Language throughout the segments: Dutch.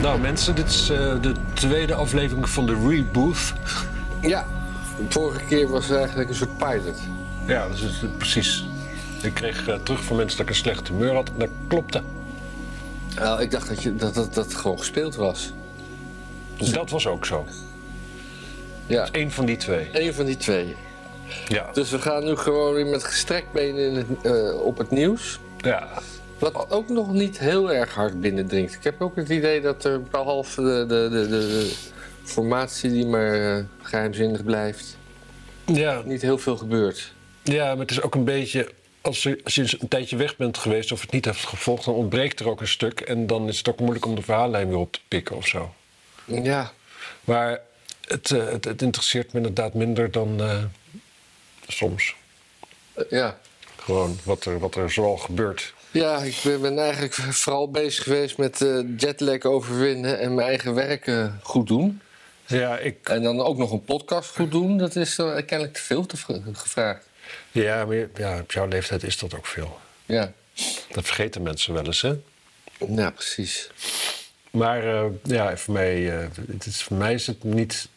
Nou mensen, dit is eh, de tweede aflevering van de Rebooth. Ja, de vorige keer was het eigenlijk een soort pilot. Ja, dat is het, eh, precies. Ik kreeg eh, terug van mensen dat ik een slecht humeur had. En dat klopte. Nou, ik dacht dat, je, dat, dat dat gewoon gespeeld was. Dus dat was ook zo. Ja, Eén van die twee. één van die twee. Ja. Dus we gaan nu gewoon weer met gestrekt benen in het, eh, op het nieuws. ja. Wat ook nog niet heel erg hard binnendringt. Ik heb ook het idee dat er behalve de, de, de, de, de formatie die maar eh, geheimzinnig blijft, Ja, niet heel veel gebeurt. ja, maar het is ook een beetje... Als je, als je eens een tijdje weg bent geweest of het niet hebt gevolgd... dan ontbreekt er ook een stuk. En dan is het ook moeilijk om de verhaallijn weer op te pikken of zo. Ja, Maar het, eh, het, het interesseert me inderdaad minder dan eh, soms. eh, ja. Gewoon wat er, wat er zoal gebeurt. Ja, ik ben- ben eigenlijk vooral bezig geweest met eh, jetlag overwinnen en mijn eigen werk eh, goed doen. Ja, ik, En dan ook nog een podcast goed doen, dat is eh, kennelijk te veel te vra- gevraagd. ja, maar je- ja, op jouw leeftijd is dat ook veel. Ja, Dat vergeten mensen wel eens, hè? ja precies. Maar eh, ja, voor mij, eh, het is, voor mij is het niet,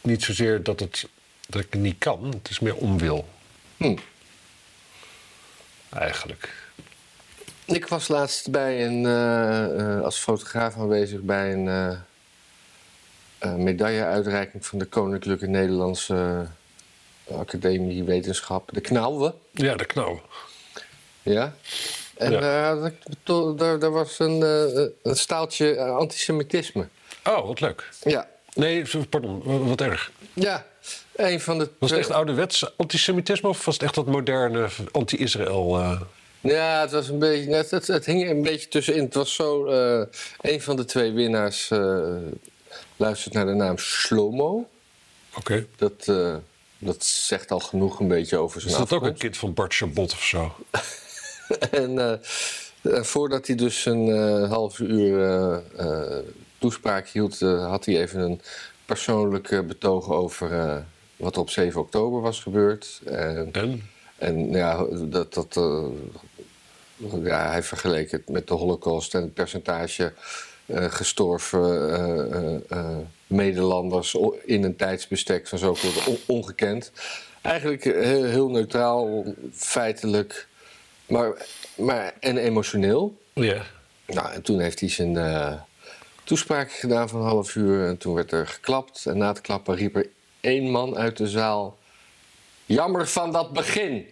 niet zozeer dat, het, dat ik het niet kan. Het is meer onwil, Hm. eigenlijk. Ik was laatst bij een, eh, eh, als fotograaf aanwezig bij een eh, eh, medailleuitreiking van de Koninklijke Nederlandse eh, Academie Wetenschappen, de Knauwe. Ja, dat knauw. Ja. En Ja. eh, had ik beto- daar, daar was een, eh, eh, een staaltje eh, antisemitisme. Oh, wat leuk. Ja. Nee, pardon, wa- wat erg. Ja. Een van de. Was het twee- echt ouderwets antisemitisme of was het echt dat moderne anti-Israël? eh? Ja, het was een beetje. Het, het, het hing een beetje tussenin. Het was zo. eh, een van de twee winnaars eh, luistert naar de naam Slomo. Oké. Dat, eh, dat zegt al genoeg een beetje over zijn Is dat ook een afkomst. kind van Bart Chabot of zo? En eh, eh, voordat hij dus een eh, half uur eh, eh, toespraak hield, eh, had hij even een persoonlijk eh, betoog over eh, wat er op 7 oktober was gebeurd. En, En? en ja, dat, dat, eh, ja, hij vergeleek het met de holocaust en het percentage eh, gestorven eh, eh, eh, Nederlanders o- in een tijdsbestek van zoveel on- ongekend. Eigenlijk eh, heel, heel neutraal, feitelijk, maar, maar, en emotioneel. Ja. Nou, en toen heeft hij zijn eh, toespraak gedaan van een half uur. En toen werd er geklapt. En na het klappen riep er één man uit de zaal... Jammer van dat begin!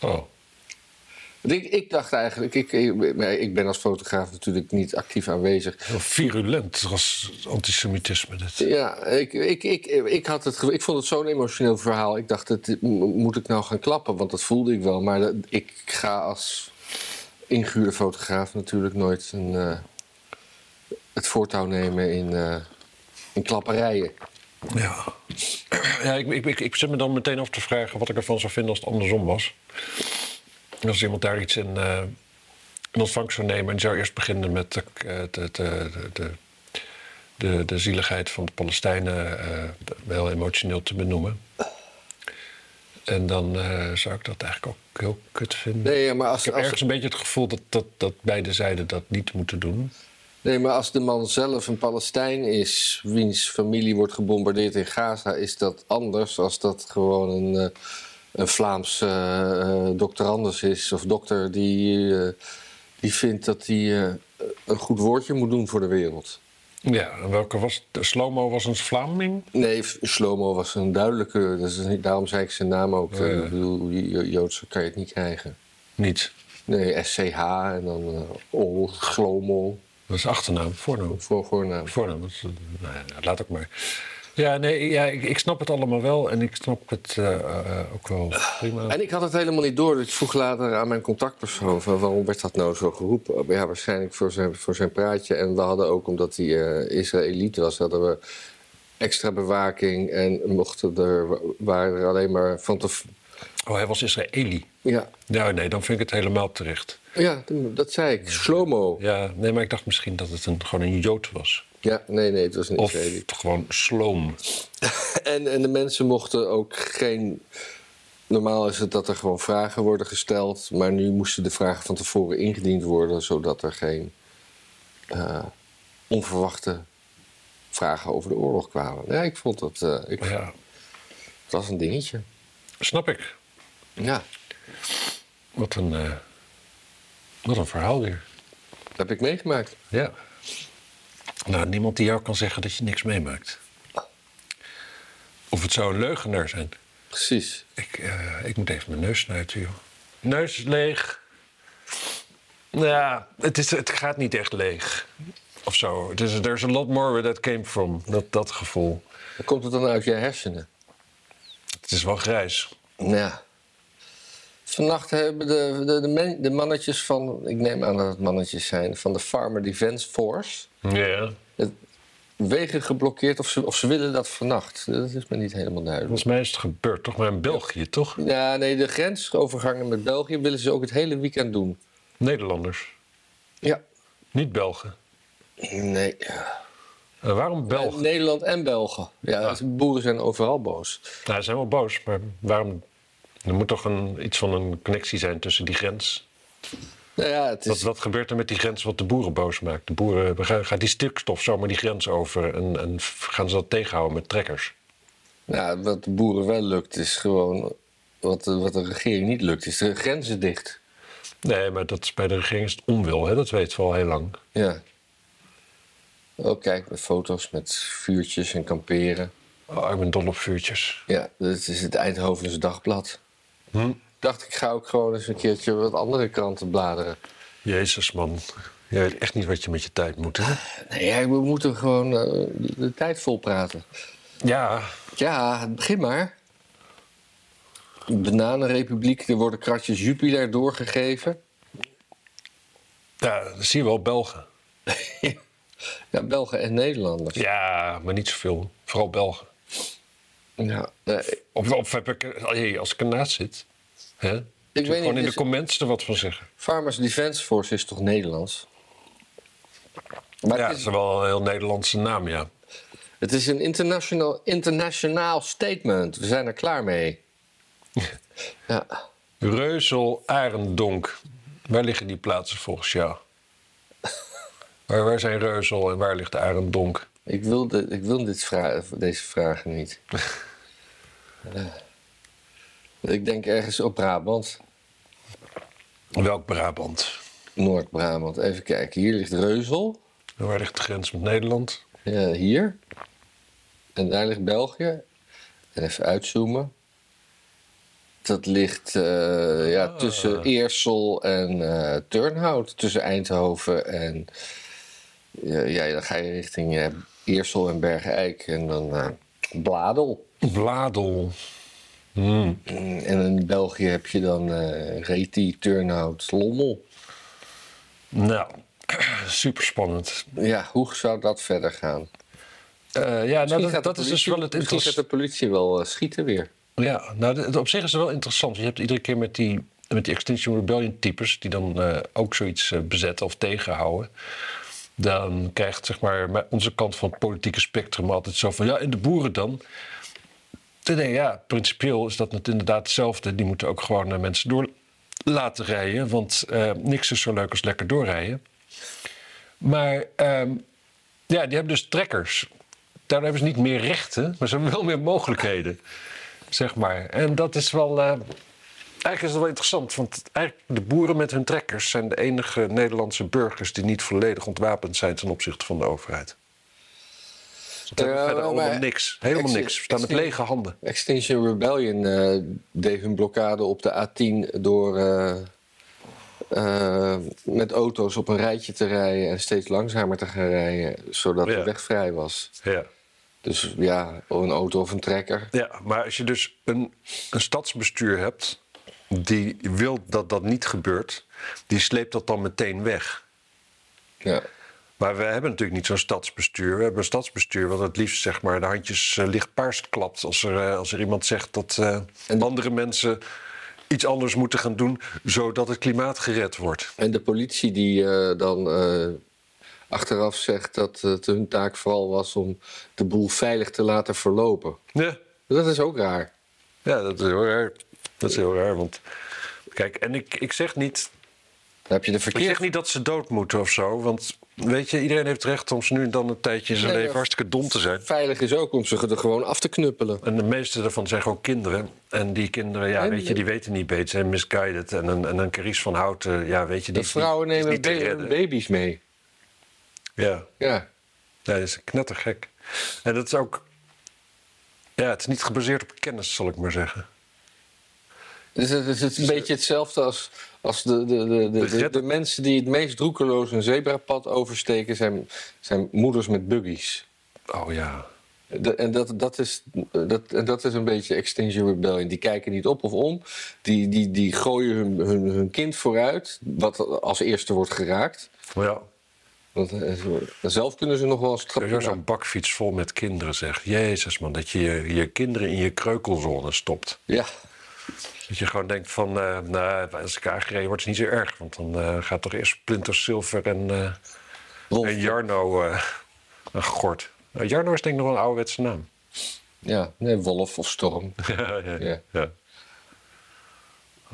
Oh. Want Ik, ik dacht eigenlijk... Ik, ik, maar ik ben als fotograaf natuurlijk niet actief aanwezig. Heel virulent was antisemitisme dit. Ja, ik, ik, ik, ik, had het, ge- ik vond het zo'n emotioneel verhaal. Ik dacht, het, mo- moet ik nou gaan klappen? Want dat voelde ik wel. Maar dat- ik ga als ingehuurde fotograaf natuurlijk nooit een, eh, het voortouw nemen in, eh, in klapperijen. Ja. Ja, ik, ik, ik, ik zit me dan meteen af te vragen wat ik ervan zou vinden als het andersom was. Als iemand daar iets in, eh, in ontvangst zou nemen en zou eerst beginnen met de, eh, de, de, de, de, de zieligheid van de Palestijnen eh, wel emotioneel te benoemen. En dan eh, zou ik dat eigenlijk ook heel kut vinden. Nee, ja, maar als, Ik heb als- ergens een beetje het gevoel dat, dat, dat beide zijden dat niet moeten doen. nee, maar als de man zelf een Palestijn is, wiens familie wordt gebombardeerd in Gaza, is dat anders als dat gewoon een, eh, een Vlaams eh, eh, doctorandus is of dokter die, eh, die vindt dat hij eh, een goed woordje moet doen voor de wereld. Ja, en welke was het? De Slomo was een Vlaming? Nee, F- Shlomo was een duidelijke, dat is niet, daarom zei ik zijn naam ook. eh, Ja. Ik bedoel, Jo- Joodse kan je het niet krijgen. Niet. Nee, SCH en dan eh Ol, Glomo, Dat is achternaam, voornaam. voor voornaam. Voornaam, dat is, eh, nou ja, laat ook maar. Ja, nee, ja, ik, ik snap het allemaal wel en ik snap het eh, eh, ook wel prima. En ik had het helemaal niet door. Dus ik vroeg later aan mijn contactpersoon van waarom werd dat nou zo geroepen? Ja, waarschijnlijk voor zijn, voor zijn praatje. En we hadden ook, omdat hij eh Israëliet was, hadden we extra bewaking. En mochten er, waren er alleen maar van te... Oh, hij was Israëli. Ja, Nou, nee, dan vind ik het helemaal terecht. ja dat zei ik. Slomo. Ja, nee, maar ik dacht misschien dat het een, gewoon een Jood was. Ja, nee, nee, het was een Of Israëliet. gewoon Sloom. En, en de mensen mochten ook geen... Normaal is het dat er gewoon vragen worden gesteld. Maar nu moesten de vragen van tevoren ingediend worden, zodat er geen eh, onverwachte vragen over de oorlog kwamen. Ja, ik vond dat, eh, ik, Ja, het was een dingetje. snap ik. Ja, Wat een, eh, wat een verhaal weer. dat heb ik meegemaakt. Ja. Nou, niemand die jou kan zeggen dat je niks meemaakt. Of het zou een leugenaar zijn. Precies. Ik, eh, ik moet even mijn neus snuiten, joh. Neus leeg. Nou Ja, het, is, het gaat niet echt leeg. Of zo. Het is, there's a lot more where that came from. Dat, dat gevoel. Dan komt het dan uit je hersenen. Het is wel grijs. Ja. Vannacht hebben de, de, de, men- de mannetjes van, ik neem aan dat het mannetjes zijn, van de Farmer Defense Force, Ja. het wegen geblokkeerd of ze, of ze willen dat vannacht. Dat is me niet helemaal duidelijk. Volgens mij is het gebeurd, toch? Maar in België, toch? Ja, nee, de grensovergangen met België willen ze ook het hele weekend doen. Nederlanders. Ja. Niet Belgen. Nee. Eh, waarom Belgen? Nederland en Belgen. Ja, de boeren zijn overal boos. Nou, ze zijn wel boos, maar waarom? Er moet toch een, iets van een connectie zijn tussen die grens. Nou ja, het Wat, is... wat gebeurt er met die grens wat de boeren boos maakt? De boeren gaan- gaat die stikstof zomaar die grens over en, en gaan ze dat tegenhouden met trekkers. Nou, wat de boeren wel lukt, is gewoon... Wat de, wat de regering niet lukt, is de grenzen dicht. Nee, maar dat is bij de regering is het onwil, hè? dat weten we al heel lang. Ja. Oh, kijk, met foto's met vuurtjes en kamperen. Oh, ik ben dol op vuurtjes. Ja, dat is het Eindhovense Dagblad. Dacht ik, ga ook gewoon eens een keertje wat andere kranten bladeren. Jezus, man. Je weet echt niet wat je met je tijd moet, hè? Nee, ja, we moeten gewoon eh, de tijd vol praten. Ja, Ja, begin maar. Bananenrepubliek, er worden kratjes Jupiler doorgegeven. ja, dat zie je wel Belgen. Ja, Belgen en Nederlanders. Ja, maar niet zoveel. Vooral Belgen. Ja, eh, Of, of heb ik, hey, als ik ernaast zit, hè? moet je weet niet, dus- gewoon in is- de comments er wat van zeggen. Farmers Defence Force is toch Nederlands? ja, Maar het, dat is, is wel een heel Nederlandse naam, ja. het is een international, internationaal statement. We zijn er klaar mee. ja, Reuzel Arendonk. Waar liggen die plaatsen volgens jou? waar, waar zijn Reuzel en waar ligt Arendonk? ik wil, de, ik wil dit vra deze vragen niet. Ja. Ik denk ergens op Brabant. Welk Brabant? Noord-Brabant. Even kijken. Hier ligt Reuzel. En waar ligt de grens met Nederland? Ja, hier. En daar ligt België. En even uitzoomen. Dat ligt eh, ja, tussen Eersel en eh, Turnhout. Tussen Eindhoven en... Ja, ja, dan ga je richting eh, Eersel en Bergen-Eik. En dan eh, Bladel. Bladel. En in België heb je dan eh Reti, Turnhout, Lommel. Nou, superspannend. Ja, hoe zou dat verder gaan? Eh ja, nou, Misschien dat, gaat de dat is dus politie- wel het Misschien gaat interessante. de politie wel eh, schieten weer. Ja, nou, dat- op zich is het wel interessant. Je hebt iedere keer met die, met die Extinction Rebellion types... die dan eh, ook zoiets eh, bezetten of tegenhouden... dan krijgt zeg maar, maar onze kant van het politieke spectrum altijd zo van... ja, en de boeren dan? Ik denk, ja, principieel is dat het inderdaad hetzelfde. Die moeten ook gewoon eh, mensen door laten rijden... want eh, niks is zo leuk als lekker doorrijden. Maar ehm, ja, die hebben dus trekkers. Daar hebben ze niet meer rechten, maar ze hebben wel meer mogelijkheden. Zeg maar. En dat is wel. eh, eigenlijk is dat wel interessant, want eigenlijk de boeren met hun trekkers zijn de enige Nederlandse burgers die niet volledig ontwapend zijn ten opzichte van de overheid. Ze hebben Ja, verder maar- allemaal maar- niks. Helemaal Ik zie- niks. Ze staan ik met zie- lege handen. Extinction Rebellion eh, deed hun blokkade op de A10 door eh, eh, met auto's op een rijtje te rijden en steeds langzamer te gaan rijden, zodat Oh Ja. de weg vrij was. Ja. Dus ja, een auto of een trekker. Ja, maar als je dus een, een stadsbestuur hebt die wil dat dat niet gebeurt, die sleept dat dan meteen weg. Ja. Maar we hebben natuurlijk niet zo'n stadsbestuur. We hebben een stadsbestuur wat het liefst zeg maar, de handjes eh, lichtpaars klapt. Als er, eh, als er iemand zegt dat eh, andere mensen iets anders moeten gaan doen... zodat het klimaat gered wordt. En de politie die eh, dan eh, achteraf zegt dat het hun taak vooral was om de boel veilig te laten verlopen. Ja, Dat is ook raar. ja dat is heel raar. Dat is heel raar, want... Kijk, en ik, ik zeg niet heb je de Ik zeg verkeerde. niet dat ze dood moeten of zo, want weet je, iedereen heeft recht om ze nu en dan een tijdje in zijn Nee, leven maar- hartstikke dom te zijn. Veilig is ook om ze er gewoon af te knuppelen. En de meeste daarvan zijn gewoon kinderen. En die kinderen, ja, En- weet je, die weten niet beter. Zijn misguided. En een, en een Carice van Houten, ja, weet je, die De is vrouwen niet, die nemen is niet te ba- redden. baby's mee. Ja, Ja. ja, dat is knettergek. En dat is ook... Ja, het is niet gebaseerd op kennis, zal ik maar zeggen. Dus het is het een beetje eh, hetzelfde als, als de, de, de, de, de, de mensen die het meest roekeloos een zebrapad oversteken, zijn, zijn moeders met buggies. Oh ja. De- en dat, dat, is, dat, en dat is een beetje Extinction Rebellion. Die kijken niet op of om. Die, die, die gooien hun, hun, hun kind vooruit, wat als eerste wordt geraakt. Maar ja, Want eh, zelf kunnen ze nog wel eens als je zo'n bakfiets vol met kinderen zegt... Jezus man, dat je je, je kinderen in je kreukelzone stopt. Ja, Dat je gewoon denkt van, eh, nou, als ik aangereden word, is het niet zo erg. Want dan eh, gaat toch eerst Splinter Silver en... eh, Rolf. En Jarno, eh een gort. Nou, Jarno is denk ik nog wel een ouderwetse naam. Ja, nee, Wolf of Storm. ja, ja, Ja. ja.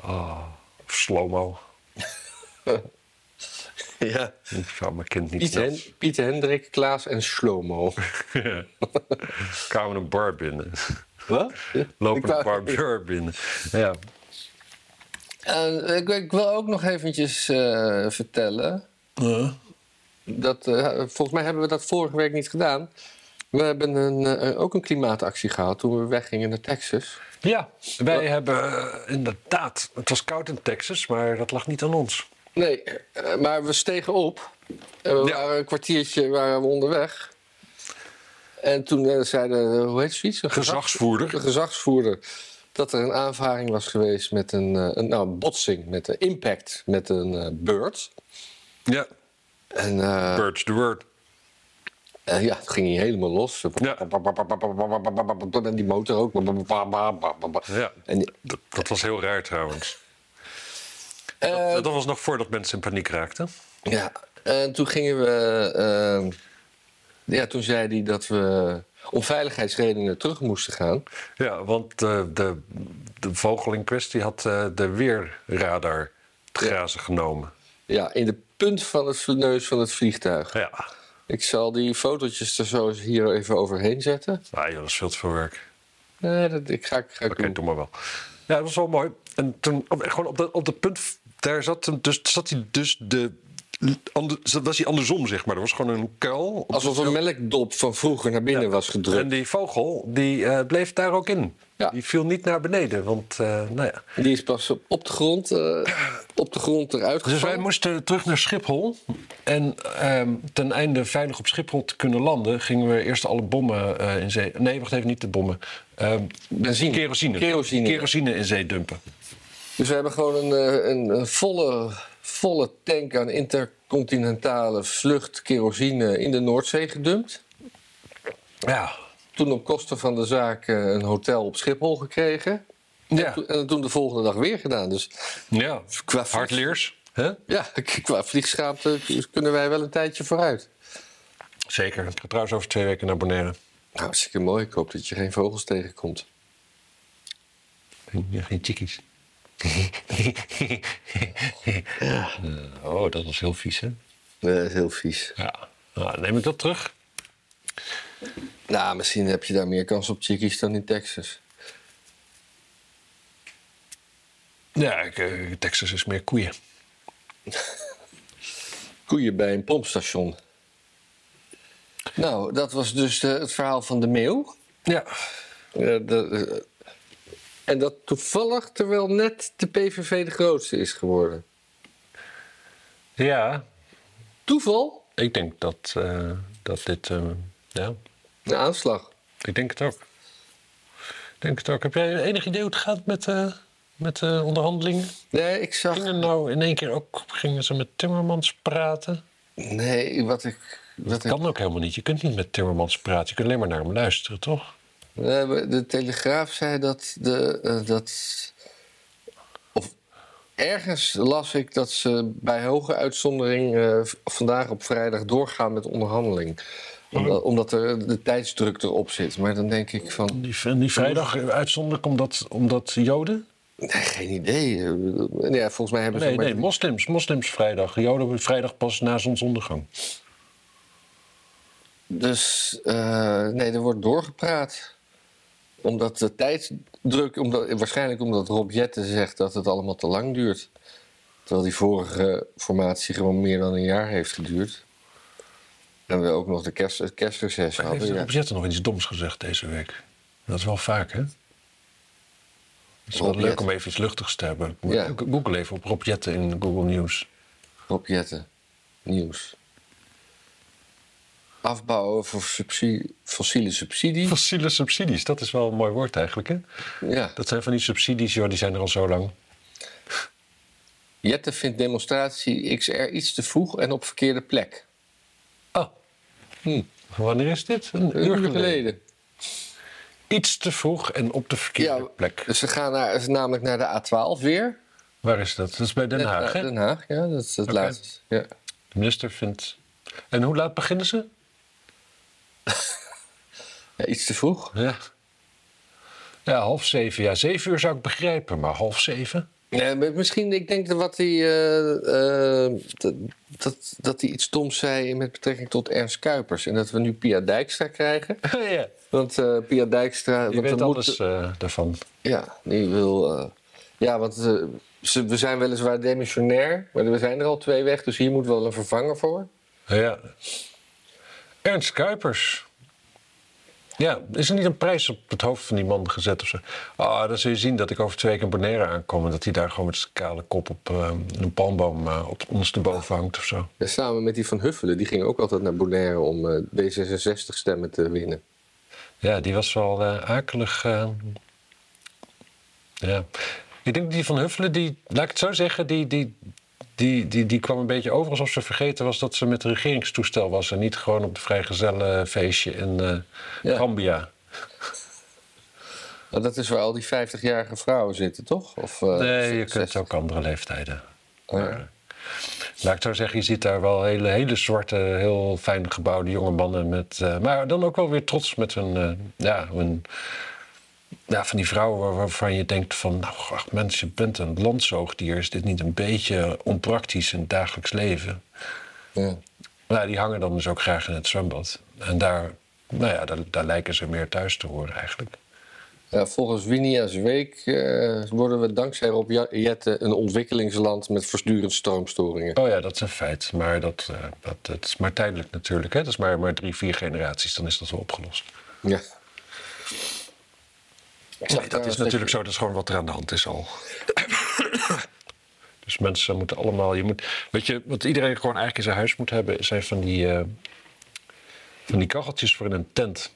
Oh, of Slomo. ja. Ik zou mijn kind niet Piet, zelf. Hen- Piet Hendrik, Klaas en Slomo. Ik kwam een bar binnen. Wat? Lopen een barbier binnen. Ja. Eh, ik, ik wil ook nog eventjes eh, vertellen. Dat, eh, volgens mij hebben we dat vorige week niet gedaan. We hebben een, eh, ook een klimaatactie gehad toen we weggingen naar Texas. ja, wij hebben eh, inderdaad... Het was koud in Texas, maar dat lag niet aan ons. Nee, eh, maar we stegen op. En we Ja. waren een kwartiertje waren we onderweg. En toen eh, zeiden, eh, hoe heet zoiets? Een Gezagsvoerder. de gezagsvoerder dat er een aanvaring was geweest met een, eh, een, nou, een botsing, met een impact met een eh, bird. Ja, En eh, Birds the Word. eh, ja, het ging hier helemaal los. Ja. En die motor ook. Ja. En die- Dat, dat was heel raar trouwens. Eh, Dat, dat was nog voordat mensen in paniek raakten. ja, en toen gingen we. eh, ja, toen zei hij dat we om veiligheidsredenen terug moesten gaan. Ja, want eh, de, de vogel in kwestie had eh, de weerradar te grazen genomen. Ja, in de punt van het neus van het vliegtuig. Ja, Ik zal die fotootjes er zo eens hier even overheen zetten. ah, joh, dat is veel te veel werk. Nee, dat, ik ga, ik ga ik Oké, doen. doe maar wel. Ja, dat was wel mooi. En toen, op, gewoon op dat op dat punt, daar zat, hem dus, zat hij dus de... ander- zat- was hij andersom, zeg maar. Er was gewoon een kuil. op- Alsof een melkdop van vroeger naar binnen was en gedrukt. die vogel, die eh, bleef daar ook in. Ja. Die viel niet naar beneden, want eh, nou ja. Die is pas op op de grond, eh, op de grond eruit Dus gevallen. wij moesten terug naar Schiphol. En ehm, ten einde veilig op Schiphol te kunnen landen, gingen we eerst alle bommen eh, in zee. Nee, wacht even, niet de bommen. Ehm, Benzine. Kerosine. Kerosine. Kerosine in zee dumpen. Dus we hebben gewoon een, eh, een, een volle, volle tank aan intercontinentale vlucht kerosine in de Noordzee gedumpt. Ja. Toen op kosten van de zaak eh, een hotel op Schiphol gekregen. En, Ja. toen, en toen de volgende dag weer gedaan. Dus ja. qua, vlieg- Hardleers. hè? ja, qua vliegschaamte kunnen wij wel een tijdje vooruit. Zeker. Ik ga trouwens over twee weken naar Bonaire. Nou, hartstikke mooi. Ik hoop dat je geen vogels tegenkomt. Ja, geen chickies. oh, dat was heel vies, hè? Eh, Dat is heel vies. Ja. Nou, neem ik dat terug? Nou, misschien heb je daar meer kans op chickies dan in Texas. Ja, ik, eh, Texas is meer koeien. Koeien bij een pompstation. Nou, dat was dus eh, het verhaal van de meeuw. Ja. Eh, de- eh, en dat toevallig terwijl net de PVV de grootste is geworden. Ja, Toeval? Ik denk dat, eh, dat dit. eh, ja, Een aanslag. ik denk het ook. Ik denk het ook. Heb jij enig idee hoe het gaat met, eh, met de onderhandelingen? Nee, ik zag... Gingen nou in één keer ook gingen ze met Timmermans praten? Nee, wat ik... Wat ik Kan ook helemaal niet. Je kunt niet met Timmermans praten. Je kunt alleen maar naar hem luisteren, toch? Nee, maar Eh, de Telegraaf zei dat... De, eh, dat of ergens las ik dat ze bij hoge uitzondering eh, v- vandaag op vrijdag doorgaan met onderhandeling. Omdat, omdat er de tijdsdruk erop zit. Maar dan denk ik van... Die, die vrijdag uitzonderlijk omdat, omdat Joden? Nee, geen idee. Eh, Ja, volgens mij hebben ze... Nee, ook met- nee, moslims. Moslims vrijdag. Joden vrijdag pas na zonsondergang. Dus eh, nee, er wordt doorgepraat. Omdat de tijdsdruk, omdat, waarschijnlijk omdat Rob Jetten zegt dat het allemaal te lang duurt. Terwijl die vorige formatie gewoon meer dan een jaar heeft geduurd. En we ook nog de kerst, het kerstreces Heeft hadden. de Ja. opzetter nog iets doms gezegd deze week? Dat is wel vaak, hè? Het is wel Rob leuk Jetten. om even iets luchtigs te hebben. Ja. Go- Google even op Rob Jetten in Google News. Rob Jetten, nieuws. Afbouwen voor subsidie, fossiele subsidie. Fossiele subsidies, dat is wel een mooi woord eigenlijk, hè? Ja. Dat zijn van die subsidies, joh, die zijn er al zo lang. Jetten vindt demonstratie XR iets te vroeg en op verkeerde plek. Ah, Hm, wanneer is dit? Een een uur uur geleden. geleden. Iets te vroeg en op de verkeerde plek. Dus ze gaan naar, ze namelijk naar de A12 weer. Waar is dat? Dat is bij Den Net Haag, naar hè? Den Haag, ja, dat is het laatste. Ja. De minister vindt... En hoe laat beginnen ze? Ja, iets te vroeg. Ja. Ja, half zeven. Ja, zeven uur zou ik begrijpen, maar half zeven? Nee, maar misschien, ik denk dat wat hij, eh, eh, dat, dat, dat hij iets doms zei met betrekking tot Ernst Kuipers. En dat we nu Pia Dijkstra krijgen. ja. Want eh, Pia Dijkstra... Je want weet dan moet- alles eh, daarvan. Ja, die wil. eh, ja, want eh, ze, we zijn weliswaar demissionair, maar we zijn er al twee weg, dus hier moet wel een vervanger voor. Ja. Ernst Kuipers. Ja, is er niet een prijs op het hoofd van die man gezet of zo? Ah, dan zul je zien dat ik over twee weken in Bonaire aankom... en dat hij daar gewoon met zijn kale kop op eh, een palmboom eh, op ons te boven hangt of zo. Ja, samen met die van Huffelen, die ging ook altijd naar Bonaire om eh, D66-stemmen te winnen. Ja, die was wel eh, akelig. eh. ja. Ik denk die van Huffelen, die, laat ik het zo zeggen, die, die, die, die, die kwam een beetje over alsof ze vergeten was dat ze met een regeringstoestel was. En niet gewoon op de vrijgezellenfeestje in eh Ja. Gambia. Maar Nou, dat is waar al die 50-jarige vrouwen zitten, toch? Of, eh, Nee, je kunt 60. ook andere leeftijden. Ja. Maar, laat Nou, ik zo zeggen, je ziet daar wel hele, hele zwarte, heel fijn gebouwde jonge mannen. Met, eh, maar dan ook wel weer trots met hun, eh, ja, hun ja, van die vrouwen waar- waarvan je denkt van... Nou, ach mens, je bent een landzoogdier. Is dit niet een beetje onpraktisch in het dagelijks leven? Ja. Nou, die hangen dan dus ook graag in het zwembad. En daar, nou ja, daar, daar lijken ze meer thuis te horen eigenlijk. Ja, volgens Winia's Week eh, worden we dankzij Rob Ja- Jetten een ontwikkelingsland met voortdurend stroomstoringen. Oh ja, dat is een feit. Maar dat, eh, dat, dat is maar tijdelijk natuurlijk. Hè? Dat is maar, maar drie, vier generaties, dan is dat wel opgelost. Ja. Nee, dat is natuurlijk zo. Dat is gewoon wat er aan de hand is al. dus mensen moeten allemaal... Je moet, weet je, wat iedereen gewoon eigenlijk in zijn huis moet hebben... zijn van die, eh, van die kacheltjes voor in een tent.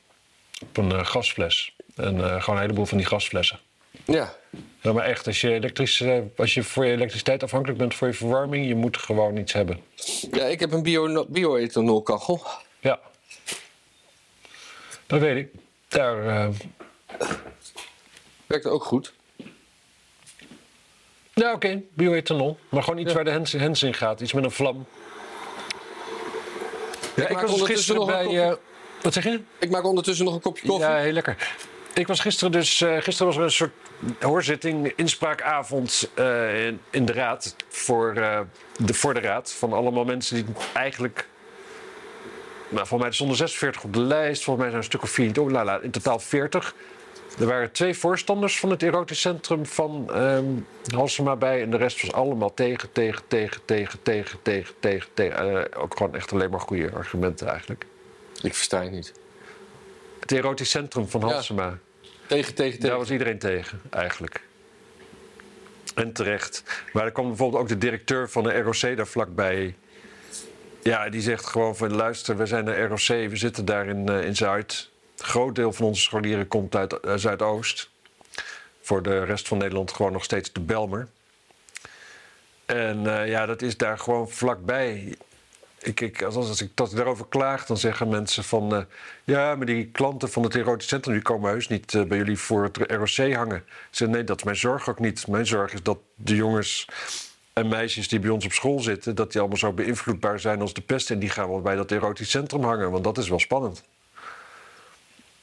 Op een eh, gasfles. En eh, gewoon een heleboel van die gasflessen. Ja, Ja, maar echt, als je, elektrisch, eh, als je voor je elektriciteit afhankelijk bent voor je verwarming... je moet gewoon iets hebben. ja ik heb een bio- bio-ethanol kachel. Ja. Dat weet ik. Daar, eh, Werkt ook goed. ja, oké, bioethanol. Maar gewoon iets waar de hens, hens in gaat. Iets met een vlam. Ja, ik maak was dus ondertussen gisteren nog een bij... kopje- eh, wat zeg je? Ik maak ondertussen nog een kopje koffie. Ja, heel lekker. Ik was gisteren dus... eh, gisteren was er een soort hoorzitting, inspraakavond eh, in, in de raad. Voor, eh, de, voor de raad. Van allemaal mensen die eigenlijk... Nou, volgens mij stonden 46 op de lijst. Volgens mij zijn er een stuk of 4. Oh, la, la, in totaal 40. Er waren twee voorstanders van het erotisch centrum van ehm Halsema bij. En de rest was allemaal tegen, tegen, tegen, tegen, tegen, tegen, tegen. tegen. Eh, ook gewoon echt alleen maar goede argumenten eigenlijk. Ik versta je niet. Het erotisch centrum van Ja. Halsema. Tegen, tegen, tegen. Daar was iedereen tegen, eigenlijk. En terecht. Maar er kwam bijvoorbeeld ook de directeur van de ROC daar vlakbij. Ja, die zegt gewoon van... luister, we zijn de ROC, we zitten daar in, eh, in Zuid. Een groot deel van onze scholieren komt uit eh, Zuidoost. Voor de rest van Nederland gewoon nog steeds de Belmer. En eh, ja, dat is daar gewoon vlakbij. Ik, ik, als, als ik dat daarover klaag, dan zeggen mensen van... eh, ja, maar die klanten van het erotisch centrum... die komen heus niet eh, bij jullie voor het ROC hangen. Ze zeggen, nee, dat is mijn zorg ook niet. Mijn zorg is dat de jongens en meisjes die bij ons op school zitten... dat die allemaal zo beïnvloedbaar zijn als de pest... en die gaan wel bij dat erotisch centrum hangen, want dat is wel spannend.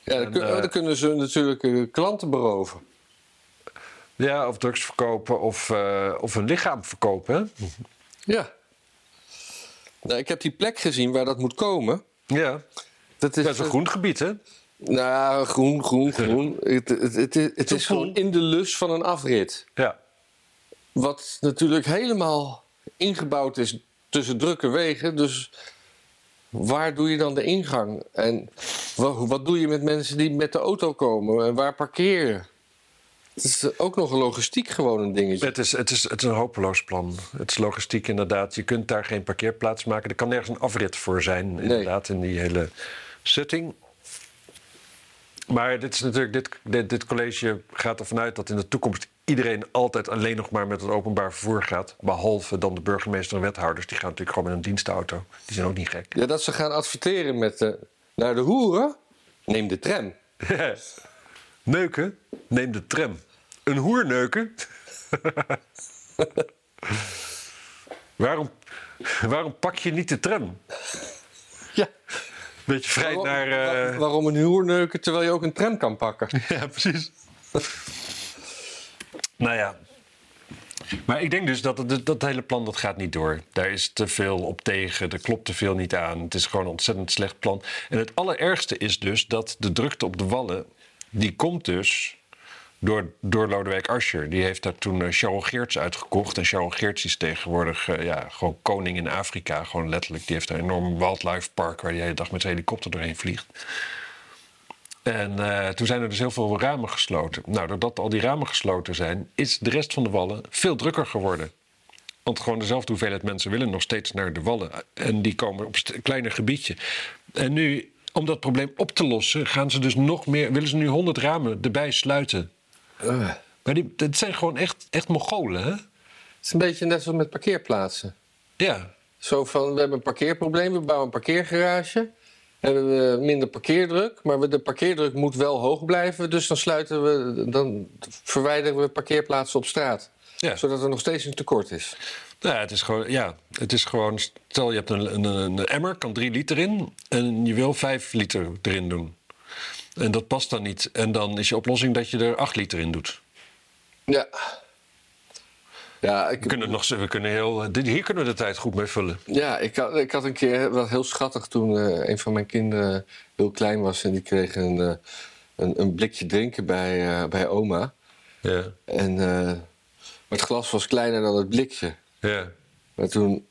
Ja, dan, kun- eh, dan kunnen ze natuurlijk eh, klanten beroven. Ja, of drugs verkopen of, eh, of een lichaam verkopen. hè? Ja. Nou, ik heb die plek gezien waar dat moet komen. Ja, Dat is, dat is een groen gebied, hè? Nou, groen, groen, groen. het het, het, het, het is Toevoel. gewoon in de lus van een afrit. Ja, Wat natuurlijk helemaal ingebouwd is tussen drukke wegen. Dus waar doe je dan de ingang? En wa- wat doe je met mensen die met de auto komen? En waar parkeer je? Het is ook nog logistiek gewoon een dingetje. het is, het, is, het is een hopeloos plan. Het is logistiek inderdaad. Je kunt daar geen parkeerplaats maken. Er kan nergens een afrit voor zijn, inderdaad, in die hele setting. Maar dit is natuurlijk, dit, dit, dit college gaat ervan uit dat in de toekomst iedereen altijd alleen nog maar met het openbaar vervoer gaat. Behalve dan de burgemeester en wethouders. Die gaan natuurlijk gewoon met een dienstauto. Die zijn ook niet gek. Ja, dat ze gaan adverteren met eh, naar de hoeren, neem de tram. Neuken, neem de tram. Een hoer neuken? waarom, waarom pak je niet de tram? Ja. Beetje vrij Waarom, naar... waar- eh, waarom een huur neuken terwijl je ook een tram kan pakken? Ja, precies. nou ja. Maar ik denk dus dat het, dat hele plan dat gaat niet door. Daar is te veel op tegen, er klopt te veel niet aan. Het is gewoon een ontzettend slecht plan. En het allerergste is dus dat de drukte op de wallen... die komt dus door, door Lodewijk Asscher. Die heeft daar toen eh, Charles Geerts uitgekocht. En Charles Geerts is tegenwoordig eh, ja, gewoon koning in Afrika. Gewoon letterlijk. Die heeft een enorm wildlife park... waar hij de hele dag met zijn helikopter doorheen vliegt. En eh, toen zijn er dus heel veel ramen gesloten. Nou, doordat al die ramen gesloten zijn, is de rest van de wallen veel drukker geworden. Want gewoon dezelfde hoeveelheid mensen willen nog steeds naar de wallen. En die komen op een kleiner gebiedje. En nu, om dat probleem op te lossen, gaan ze dus nog meer, willen ze nu 100 ramen erbij sluiten. Eh, Maar die, dat zijn gewoon echt, echt Mongolen, hè? Het is een beetje net zoals met parkeerplaatsen. Ja. Zo van, we hebben een parkeerprobleem, we bouwen een parkeergarage. Hebben we minder parkeerdruk, maar we- de parkeerdruk moet wel hoog blijven. Dus dan, sluiten we, dan verwijderen we parkeerplaatsen op straat. Ja. Zodat er nog steeds een tekort is. Nou, ja, het is gewoon, ja, het is gewoon, stel je hebt een, een, een emmer, kan drie liter in en je wil vijf liter erin doen. En dat past dan niet. En dan is je oplossing dat je er acht liter in doet. Ja. Ja, We ik, kunnen, nog, we kunnen heel, eh, dit, hier kunnen we de tijd goed mee vullen. ja ik, had, ik had een keer wat heel schattig toen eh, een van mijn kinderen heel klein was. En die kreeg een, eh, een, een blikje drinken bij, eh, bij oma. Ja, En eh, het glas was kleiner dan het blikje. ja. Maar toen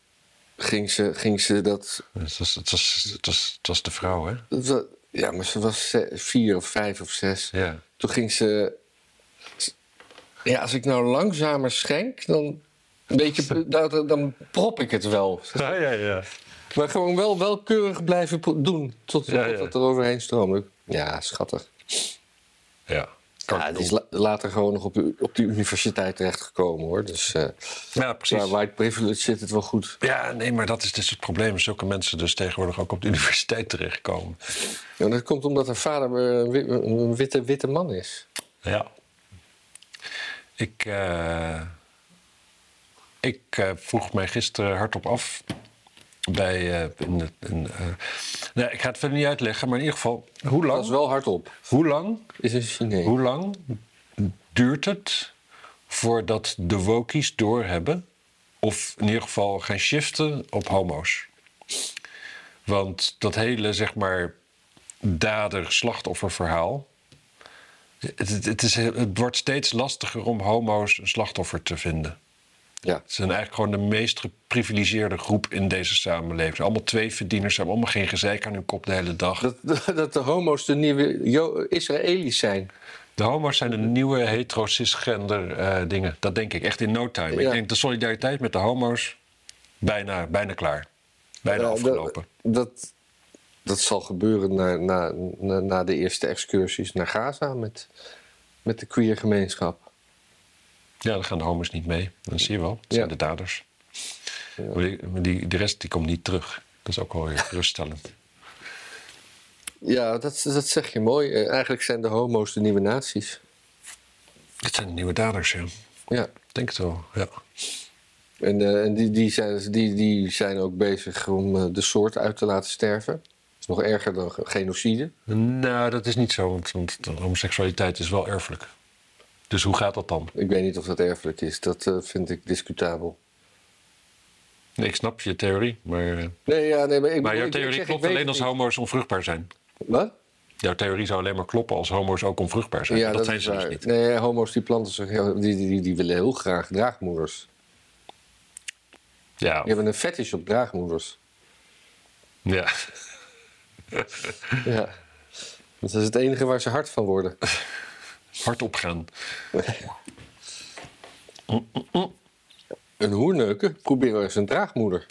ging ze, ging ze dat, Het was, het, was, het, was, het was de vrouw, hè? dat wa- Ja, maar ze was ze- vier of vijf of zes. Ja. Toen ging ze. Ja, als ik nou langzamer schenk, dan. Een beetje, dan, dan prop ik het wel. Ja, ja, ja. Maar gewoon wel, wel keurig blijven pro- doen. Tot, Ja, ja. Totdat er overheen stroomde. Ja, schattig. Ja, Ja, die is la- later gewoon nog op, de- op die universiteit terechtgekomen hoor. Dus eh ja qua precies. white privilege zit het wel goed. Ja, nee, maar dat is dus het probleem. Zulke mensen dus tegenwoordig ook op de universiteit terechtkomen. Ja, dat komt omdat haar vader eh, een wi- een witte, witte man is. Ja. Ik, eh, ik eh, vroeg mij gisteren hardop af. Bij, eh, in, de- in, eh, nou, ik ga het verder niet uitleggen, maar in ieder geval, hoe Dat lang, is wel hardop. hoe lang, Is een Chinees. Oh. hoe lang duurt het voordat de wokies doorhebben, of in ieder geval gaan shiften op homo's? Want dat hele, zeg maar, dader-slachtofferverhaal. Het, het, het is, het wordt steeds lastiger om homo's een slachtoffer te vinden. Ja. Ze zijn eigenlijk gewoon de meest geprivilegeerde groep in deze samenleving. Allemaal twee verdieners, ze hebben allemaal geen gezeik aan hun kop de hele dag. Dat, dat de homo's de nieuwe Jo- Israëli's zijn. De homo's zijn de nieuwe hetero cisgender eh, dingen. Dat denk ik echt in no time. Ik Ja. denk de solidariteit met de homo's bijna, bijna klaar. Bijna Ja, afgelopen. Dat, dat, dat zal gebeuren na, na, na, na de eerste excursies naar Gaza met, met de queer gemeenschap. Ja, dan gaan de homo's niet mee. Dat zie je wel. Dat zijn de Ja. daders. Maar die, maar die, de rest die komt niet terug. Dat is ook wel weer geruststellend. Ja, dat, dat zeg je mooi. Eh, Eigenlijk zijn de homo's de nieuwe nazi's. Dit zijn de nieuwe daders, ja. Ik Ja. denk het wel, ja. En, eh, en die, die, zijn, die, die zijn ook bezig om eh, de soort uit te laten sterven. Dat is nog erger dan genocide. Nou, dat is niet zo, want, want de homoseksualiteit is wel erfelijk. Dus hoe gaat dat dan? Ik weet niet of dat erfelijk is. Dat eh, vind ik discutabel. Nee, ik snap je theorie, maar... eh, Nee, ja, nee, maar ik Maar ik- jouw ik theorie zeg, ik klopt weet alleen het als niet. homo's onvruchtbaar zijn. Wat? Jouw theorie zou alleen maar kloppen als homo's ook onvruchtbaar zijn. Ja, dat, zijn is ze dus waar. niet. Nee, homo's die planten zich heel, die, die, die, die willen heel graag draagmoeders. Ja, Die hebben een fetish op draagmoeders. ja. Ja. Dat is het enige waar ze hard van worden. hard opgaan. Een hoerneuken proberen eens een draagmoeder.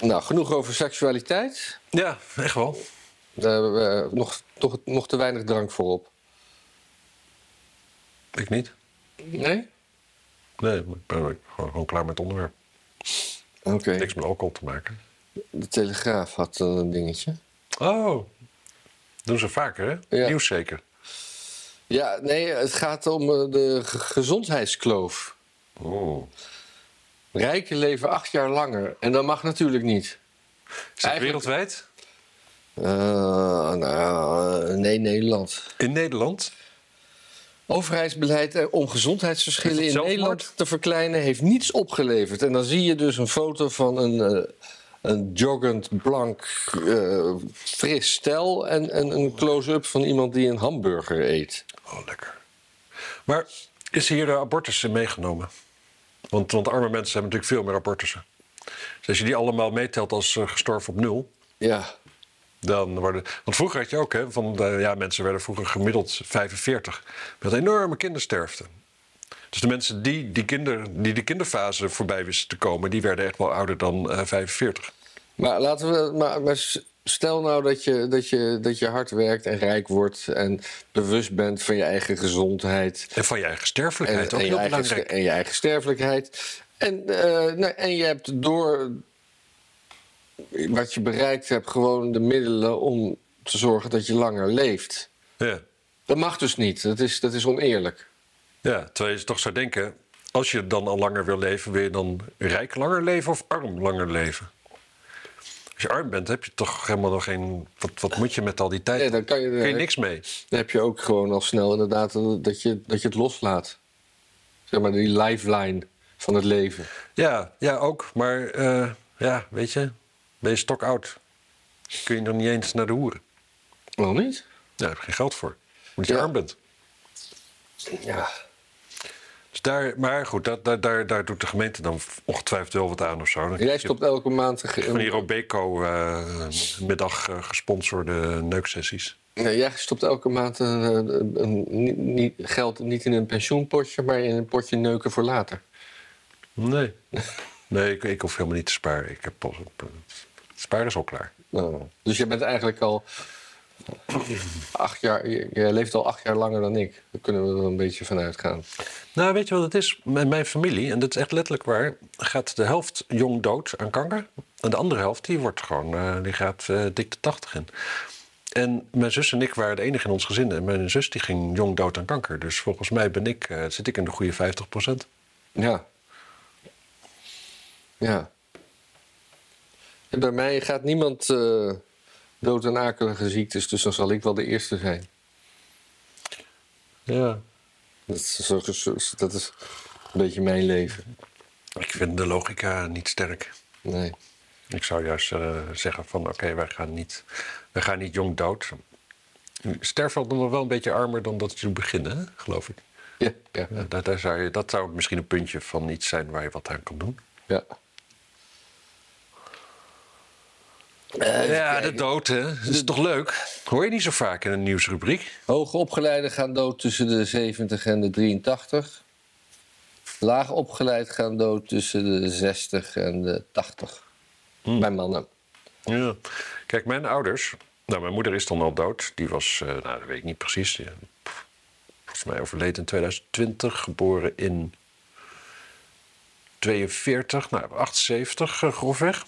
Nou, genoeg over seksualiteit. ja, echt wel. Daar hebben we eh, nog, toch, nog te weinig drank voor op. Ik niet. Nee? Nee, maar ik ben ik ben gewoon, gewoon klaar met het onderwerp. Oké. Niks met alcohol te maken. De Telegraaf had eh, een dingetje. Oh, doen ze vaker, hè? Ja. Nieuws zeker. Ja, nee, het gaat om eh, de ge- gezondheidskloof. Oh. Rijken leven acht jaar langer. En dat mag natuurlijk niet. Is dat Eigenlijk- wereldwijd? Eh, nou, eh, nee, Nederland. In Nederland? Overheidsbeleid eh, om gezondheidsverschillen Is in dat Nederland zelfmoord? te verkleinen heeft niets opgeleverd. En dan zie je dus een foto van een, eh, een joggend, blank, eh, fris stel en, en een close-up van iemand die een hamburger eet. Oh, lekker. Maar is hier de abortus in meegenomen? Want, want arme mensen hebben natuurlijk veel meer abortussen. Dus als je die allemaal meetelt als eh, gestorven op nul, Ja, dan worden... Want vroeger had je ook, hè, van de, ja, mensen werden vroeger gemiddeld 45. Met enorme kindersterfte. Dus de mensen die die, kinder, die de kinderfase voorbij wisten te komen... die werden echt wel ouder dan eh, 45. maar laten we. Maar, maar s- stel nou dat je, dat, je, dat je hard werkt en rijk wordt en bewust bent van je eigen gezondheid. En van je eigen En, sterfelijkheid, ook en je heel eigen, belangrijk. ster- en je eigen sterfelijkheid. En, eh, nou, en je hebt door wat je bereikt hebt gewoon de middelen om te zorgen dat je langer leeft. Ja. Dat mag dus niet. Dat is, dat is oneerlijk. ja, terwijl je toch zou denken... als je dan al langer wil leven, wil je dan rijk langer leven of arm langer leven? Als je arm bent, heb je toch helemaal nog geen... Wat, wat moet je met al die tijd? Ja, dan kan je, Kun je niks mee. Dan heb je ook gewoon al snel inderdaad dat je, dat je het loslaat. Zeg maar die lifeline van het leven. Ja, ja ook. Maar eh, ja, weet je, ben je stokoud. Kun je nog niet eens naar de hoeren. Wel niet? Ja, Daar heb je geen geld voor. Omdat je Ja. arm bent. Ja. Dus daar, maar goed, daar, daar, daar, daar doet de gemeente dan ongetwijfeld wel wat aan of zo. Dan Jij krijg je stopt elke maand... van Een, die Robeco eh, middag eh, gesponsorde neuksessies. Nee, jij stopt elke maand een, een, een- niet- niet- geld niet in een pensioenpotje, maar in een potje neuken voor later. Nee. Nee, ik, ik hoef helemaal niet te sparen. Ik heb pas op, eh, sparen is al klaar. Nou, Dus je bent eigenlijk al acht jaar, je, je leeft al acht jaar langer dan ik. Daar kunnen we er een beetje van uitgaan. Nou, weet je wat het is? Mijn, mijn familie, en dat is echt letterlijk waar, gaat de helft jong dood aan kanker. En de andere helft, die, wordt gewoon, eh, die gaat eh, dik de tachtig in. En mijn zus en ik waren de enige in ons gezin. En mijn zus die ging jong dood aan kanker. Dus volgens mij ben ik, eh, zit ik in de goede 50 Ja. Ja. En bij mij gaat niemand eh, dood aan akelige ziektes, dus dan zal ik wel de eerste zijn. Ja. Dat is, zo- zo- dat is een beetje mijn leven. Ik vind de logica niet sterk. Nee. Ik zou juist eh, zeggen van oké, wij gaan niet, wij gaan niet jong dood. Sterf wel nog wel een beetje armer dan dat je begint, hè? geloof ik. Ja, ja, ja. Ja, daar, daar zou je, dat zou misschien een puntje van iets zijn waar je wat aan kan doen. Ja. ja, Eh, de dood, hè? Dat is toch leuk? Hoor je niet zo vaak in een nieuwsrubriek? Hoogopgeleiden gaan dood tussen de 70 en de 83. Laagopgeleid gaan dood tussen de 60 en de 80. Bij mannen. Ja. Kijk, mijn ouders. Nou, mijn moeder is dan al dood. Die was, eh, nou, dat weet ik niet precies. Die, pff, volgens mij overleden in 2020, geboren in 42, nou, 78 eh, grofweg.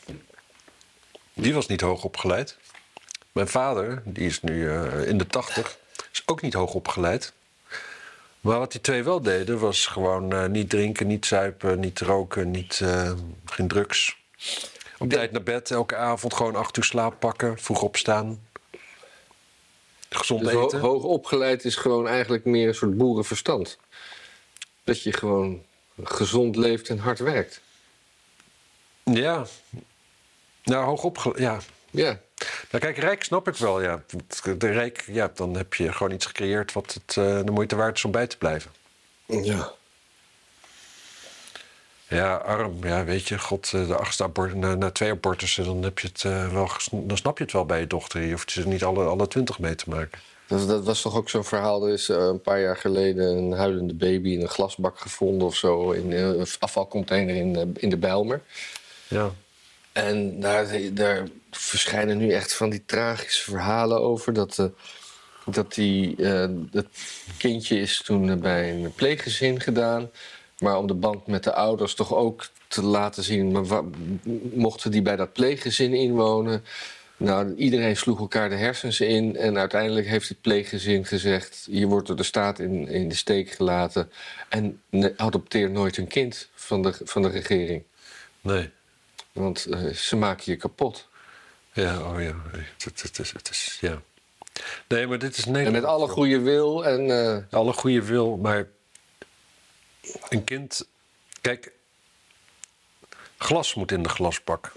Die was niet hoog opgeleid. Mijn vader, die is nu eh, in de 80, is ook niet hoog opgeleid. Maar wat die twee wel deden, was gewoon eh, niet drinken, niet zuipen, niet roken, niet, eh, geen drugs. Op tijd naar bed, elke avond gewoon acht uur slaap pakken, vroeg opstaan. Gezond Dus ho- eten. hoog opgeleid is gewoon eigenlijk meer een soort boerenverstand. Dat je gewoon gezond leeft en hard werkt. Ja. Nou, hoog opgeleid. Ja. Ja, Nou, kijk, rijk snap ik wel. Ja. De rijk, ja, dan heb je gewoon iets gecreëerd wat het eh, de moeite waard is om bij te blijven. ja. Ja, arm. Ja, weet je, god, eh, de achtste abort na, na twee abortussen, dan, heb je het, eh, wel, ges- dan snap je het wel bij je dochter. Je hoeft ze niet alle, alle twintig mee te maken. Dat, dat was toch ook zo'n verhaal. Er is eh, een paar jaar geleden een huilende baby in een glasbak gevonden of zo. In eh, een afvalcontainer in, eh, in de Bijlmer. Ja. En daar, daar verschijnen nu echt van die tragische verhalen over. Dat, eh, dat die, eh, dat kindje is toen eh, bij een pleeggezin gedaan. Maar om de band met de ouders toch ook te laten zien. Maar wa- mochten die bij dat pleeggezin inwonen? Nou, iedereen sloeg elkaar de hersens in. En uiteindelijk heeft het pleeggezin gezegd: Je wordt door de staat in, in de steek gelaten. En ne- adopteer nooit een kind van de, van de regering. Nee. Want eh, ze maken je kapot. Ja, oh ja. nee. Het, het, het is, het is, ja. Nee, maar dit is Nederland. En met alle goede wil en... eh, alle goede wil, maar een kind. Kijk, glas moet in de glasbak.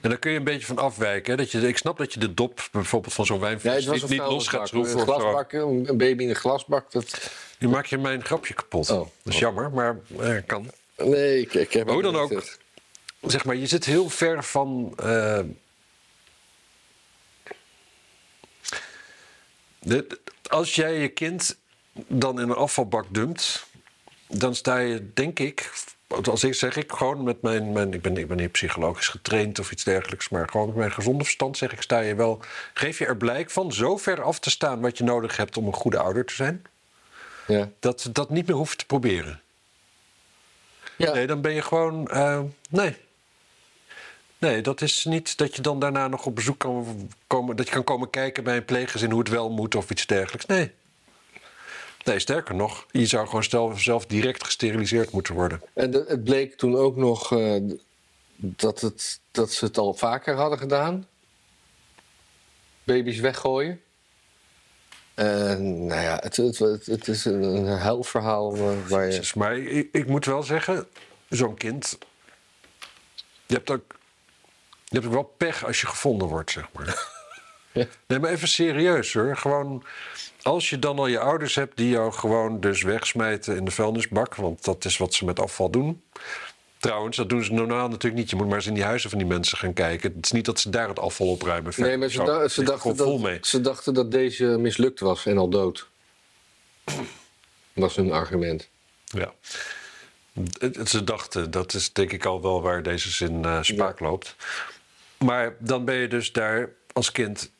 En daar kun je een beetje van afwijken. Hè? Dat je, ik snap dat je de dop bijvoorbeeld van zo'n ja, wijnfles het was niet, een niet los gaat vuilnisbak. schroeven. Een of zo. glasbak, een een baby in een glasbak. Dat... Nu maak je mijn grapje kapot. Oh. Dat is jammer, maar eh, kan. Nee, ik, ik heb... Maar hoe dan ook, het- eh, zeg maar, je zit heel ver van. eh, de- als jij je kind dan in een afvalbak dumpt, dan sta je, denk ik, als ik zeg ik gewoon met mijn. mijn ik, ben, ik ben niet psychologisch getraind of iets dergelijks, maar gewoon met mijn gezonde verstand zeg ik, sta je wel. Geef je er blijk van zo ver af te staan wat je nodig hebt om een goede ouder te zijn, Ja. dat we dat niet meer hoeft te proberen. Ja. Nee, dan ben je gewoon. eh, nee. Nee, dat is niet dat je dan daarna nog op bezoek kan komen. Dat je kan komen kijken bij een pleeggezin hoe het wel moet of iets dergelijks. Nee. Nee, sterker nog, je zou gewoon zelf, zelf direct gesteriliseerd moeten worden. En de- het bleek toen ook nog eh, dat, het, dat ze het al vaker hadden gedaan. Baby's weggooien. En nou ja, het, het, het, het is een, een huilverhaal eh, waar je... Dus, maar ik, ik moet wel zeggen, zo'n kind. Je hebt, ook, je hebt ook wel pech als je gevonden wordt, zeg maar. Ja. Nee, maar even serieus hoor. Gewoon, als je dan al je ouders hebt die jou gewoon dus wegsmijten in de vuilnisbak, want dat is wat ze met afval doen. Trouwens, dat doen ze normaal natuurlijk niet. Je moet maar eens in die huizen van die mensen gaan kijken. Het is niet dat ze daar het afval opruimen. Nee, maar ze, Nou, Zo, da- het ze, ligt er dachten gewoon vol mee. dat, ze dachten dat deze mislukt was en al dood. Was hun argument. Ja. Het- het- Ze dachten, dat is denk ik al wel waar deze zin eh, spaak loopt. Maar dan ben je dus daar als kind.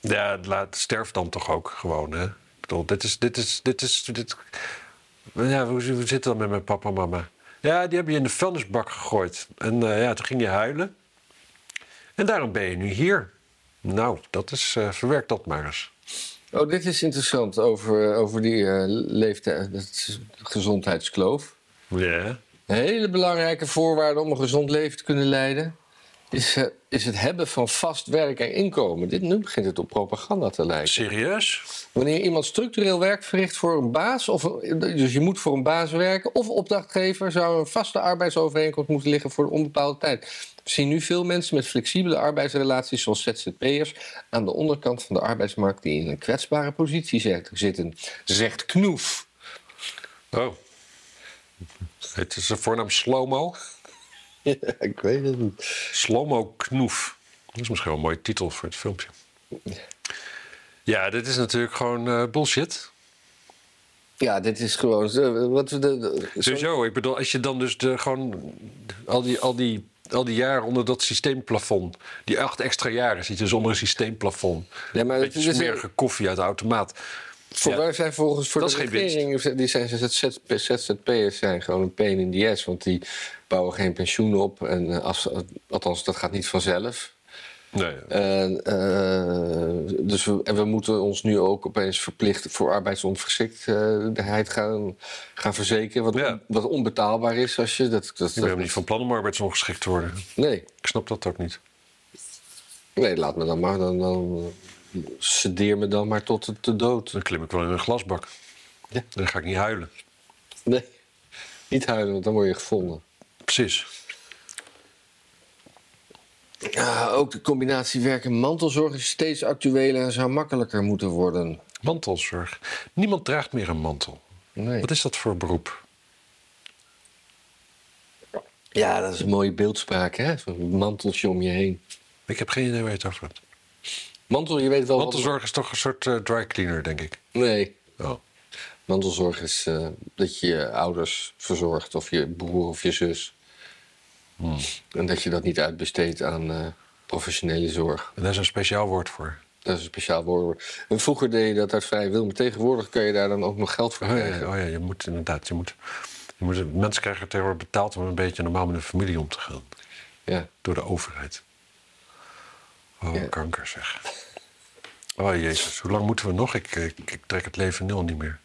Ja, laat, sterf dan toch ook gewoon, hè? Ik bedoel, dit is. Dit is, dit is dit, ja, hoe, hoe zit het dan met mijn papa en mama? Ja, die hebben je in de vuilnisbak gegooid. En eh, ja, toen ging je huilen. En daarom ben je nu hier. Nou, dat is. eh, verwerk dat maar eens. Oh, dit is interessant over, over die eh, leeftijd, dat is gezondheidskloof. Ja. Een hele belangrijke voorwaarde om een gezond leven te kunnen leiden... Is, eh, is het hebben van vast werk en inkomen. Dit, nu begint het op propaganda te lijken. Serieus? Wanneer iemand structureel werk verricht voor een baas... Of, een- dus je moet voor een baas werken of opdrachtgever... zou een vaste arbeidsovereenkomst moeten liggen voor een onbepaalde tijd. We zien nu veel mensen met flexibele arbeidsrelaties... zoals ZZP'ers aan de onderkant van de arbeidsmarkt... die in een kwetsbare positie zet- zitten, zegt Knoef. Oh. Het is een voornaam Slomo. ik weet het niet. Slomo Knoef. Dat is misschien wel een mooie titel voor het filmpje. Ja, dit is natuurlijk gewoon eh, bullshit. Ja, dit is gewoon... eh, Wat we de, de- Sowieso, ik bedoel, als Dus je dan dus de, gewoon al die, al, die, al die jaren onder dat systeemplafond... die acht extra jaren zit je dus onder een systeemplafond. Ja, maar Beetje het is- smerige koffie uit de automaat. Voor Ja. wij zijn volgens voor Dat de is geen winst. regering, die zijn ZZP ZZP'ers zijn gewoon een pain in the ass, want die bouwen geen pensioen op. En eh, als, althans, dat gaat niet vanzelf. Nee, En, eh, dus we, en we moeten ons nu ook opeens verplicht voor arbeidsongeschiktheid gaan, gaan verzekeren. Wat, Ja. on- wat onbetaalbaar is als je dat. dat, ik ben niet van plan om arbeidsongeschikt te worden. Nee, Ik snap dat ook niet. nee, laat me dan maar. Dan, dan, sedeer me dan maar tot de dood. Dan klim ik wel in een glasbak. Ja. Dan ga ik niet huilen. Nee, niet huilen, want dan word je gevonden. Precies. Ja, ook de combinatie werk en mantelzorg is steeds actueler en zou makkelijker moeten worden. Mantelzorg. Niemand draagt meer een mantel. Nee. Wat is dat voor beroep? Ja, dat is een mooie beeldspraak, hè? Zo'n manteltje om je heen. Ik heb geen idee waar je het over hebt. Mantel, je weet wel. wat- Mantelzorg is toch een soort eh, dry cleaner, denk ik. Nee. Oh. Mantelzorg is eh, dat je je ouders verzorgt, of je broer of je zus. Hmm. En dat je dat niet uitbesteedt aan eh, professionele zorg. En daar is een speciaal woord voor. Dat is een speciaal woord. En vroeger deed je dat uit vrije wil, maar tegenwoordig kun je daar dan ook nog geld voor Oh ja, krijgen. oh ja, je moet inderdaad. Je moet, je moet, mensen krijgen tegenwoordig betaald om een beetje normaal met hun familie om te gaan. Ja. Door de overheid. Oh, Ja. kanker zeg. Oh jezus, hoe lang moeten we nog? Ik, ik, ik trek het leven nul niet meer.